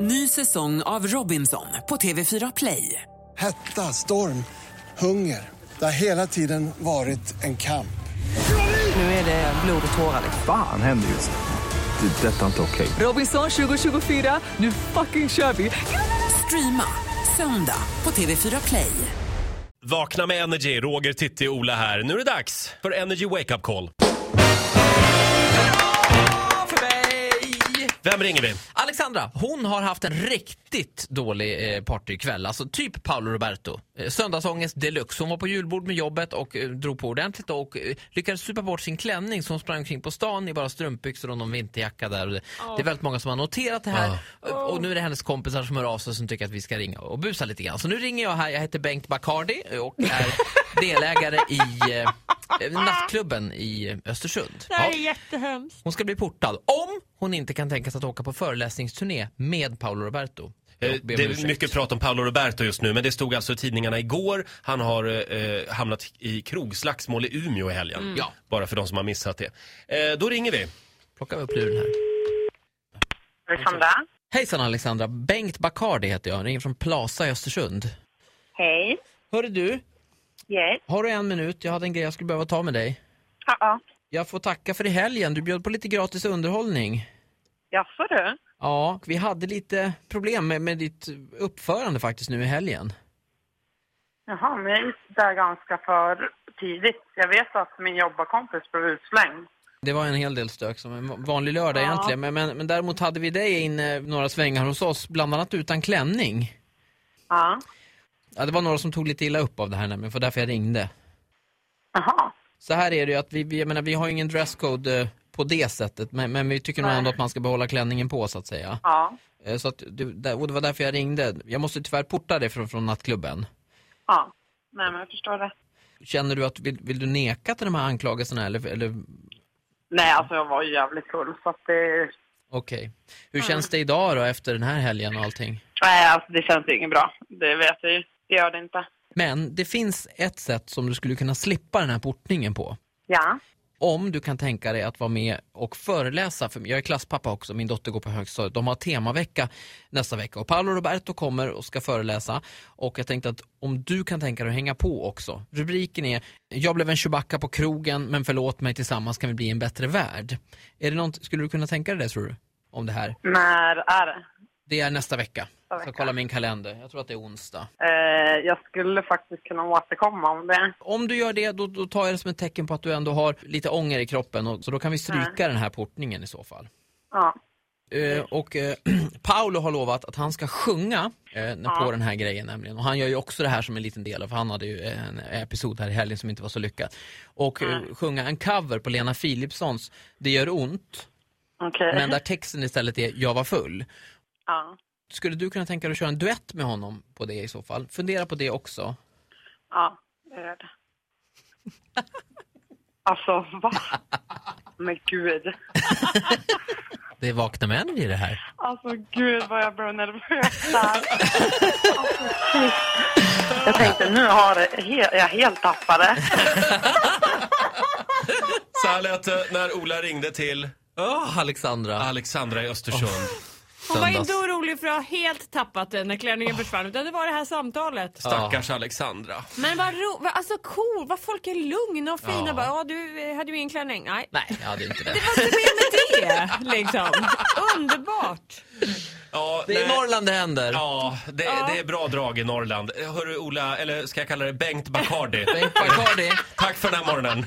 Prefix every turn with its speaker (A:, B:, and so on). A: Ny säsong av Robinson på TV4 Play.
B: Hetta, storm, hunger. Det har hela tiden varit en kamp.
A: Nu är det blod och tårar.
C: Fan händer just nu. Det. är Detta är inte okej.
A: Robinson 2024, nu fucking kör vi! Streama söndag på TV4 Play.
D: Vakna med Energy, Roger, Titti och Ola här. Nu är det dags för Energy Wake Up Call.
E: för mig!
D: Vem ringer vi?
E: Alexandra, hon har haft en riktigt dålig eh, partykväll. Alltså typ Paolo Roberto. Eh, söndagsångest deluxe. Hon var på julbord med jobbet och eh, drog på ordentligt och eh, lyckades supa bort sin klänning så hon sprang omkring på stan i bara strumpbyxor och någon vinterjacka där. Och det, det är väldigt många som har noterat det här. Eh, Och, och nu är det hennes kompisar som hör av sig som tycker att vi ska ringa och busa lite grann. Så nu ringer jag här. Jag heter Bengt Bacardi och är delägare i eh, nattklubben i eh, Östersund.
F: Det här
E: Ja.
F: är jättehemskt.
E: Hon ska bli portad om hon inte kan tänka sig att åka på föreläsningsturné med Paolo Roberto.
D: Eh,
E: Jag ber om
D: Det är
E: ursäkt.
D: mycket prat om Paolo Roberto just nu, men det stod alltså i tidningarna igår. Han har eh, hamnat i krogslagsmål i Umeå i helgen.
E: Mm. Ja.
D: Bara för de som har missat det. Eh, då ringer vi.
E: Plocka upp luren här.
G: Alexandra.
E: Hejsan Alexandra, Bengt Bacardi heter jag. Jag ringer från Plaza i Östersund.
G: Hej.
E: Hörru du,
G: Yes.
E: har du en minut? Jag hade en grej jag skulle behöva ta med dig.
G: Ja, ja.
E: Jag får tacka för i helgen. Du bjöd på lite gratis underhållning.
G: Jaså du?
E: Ja, vi hade lite problem med, med ditt uppförande faktiskt nu i helgen.
G: Jaha, men jag är där ganska för tidigt. Jag vet att min jobbarkompis blev utslängd.
E: Det var en hel del stök som en vanlig lördag
G: Ja.
E: egentligen. Men, men, men däremot hade vi dig inne några svängar hos oss, bland annat utan klänning.
G: Ja.
E: Ja, det var några som tog lite illa upp av det här nämligen, för därför jag ringde.
G: Jaha.
E: Så här är det ju att vi, vi, jag menar, vi har ju ingen dresscode eh, på det sättet, men, men vi tycker nog
G: Nej.
E: ändå att man ska behålla klänningen på så att säga.
G: Ja.
E: Eh, Så att, du, där- och det var därför jag ringde. Jag måste tyvärr porta dig från, från nattklubben.
G: Ja. Nej, men jag förstår det.
E: Känner du att, vill, vill du neka till de här anklagelserna eller, eller
G: Nej, alltså jag var ju jävligt full så att det...
E: okej. Hur känns det idag då efter den här helgen och allting?
G: Nej, alltså det känns ju inget bra. Det vet jag ju. Det gör det inte.
E: Men det finns ett sätt som du skulle kunna slippa den här portningen på.
G: Ja.
E: Om du kan tänka dig att vara med och föreläsa, för jag är klasspappa också, min dotter går på högstadiet, de har temavecka nästa vecka och Paolo Roberto kommer och ska föreläsa och jag tänkte att om du kan tänka dig att hänga på också. Rubriken är “Jag blev en Chewbacca på krogen men förlåt mig tillsammans kan vi bli en bättre värld”. Är det något, skulle du kunna tänka dig det tror du? Om det här?
G: När är det?
E: Det är nästa vecka. Jag ska
G: vecka.
E: kolla min kalender, jag tror att det är onsdag.
G: Eh, jag skulle faktiskt kunna återkomma om det.
E: Om du gör det, då, då tar jag det som ett tecken på att du ändå har lite ånger i kroppen. Och, så då kan vi stryka den här portningen i så fall.
G: Ja.
E: Eh, och eh, Paolo har lovat att han ska sjunga eh, när- på den här grejen nämligen. Och han gör ju också det här som en liten del, av, för han hade ju en episod här i helgen som inte var så lyckad. Och eh, sjunga en cover på Lena Philipssons Det gör ont,
G: Okej.
E: men där texten istället är Jag var full.
G: Ja.
E: Skulle du kunna tänka dig att köra en duett med honom på det i så fall? Fundera på det också.
G: Ja, det gör det. Alltså, va? Men gud.
E: Det är Vakna med Energy det här.
G: Alltså gud vad jag blev nervös där. Alltså, shit. jag tänkte nu har det he- jag helt tappat det.
D: Så här lät det när Ola ringde till
E: Åh, Alexandra.
D: Alexandra i Östersund.
F: Hon var inte
E: Söndags.
F: orolig för att ha helt tappat det när klänningen försvann utan det var det här samtalet.
D: Stackars Alexandra.
F: Men vad ro, vad, alltså cool, vad folk är lugna och fina.
E: Ja.
F: Ja. Bara, ja du eh, hade ju ingen klänning. Nej.
E: Nej, jag hade inte det.
F: Vad är det med det liksom? Underbart.
D: Ja,
E: Det är i
D: nej.
E: Norrland det händer.
D: Ja, det, det är bra drag i Norrland. Eh, Hörru Ola, eller ska jag kalla dig Bengt Bacardi?
E: Bengt Bacardi.
D: Tack för den här morgonen.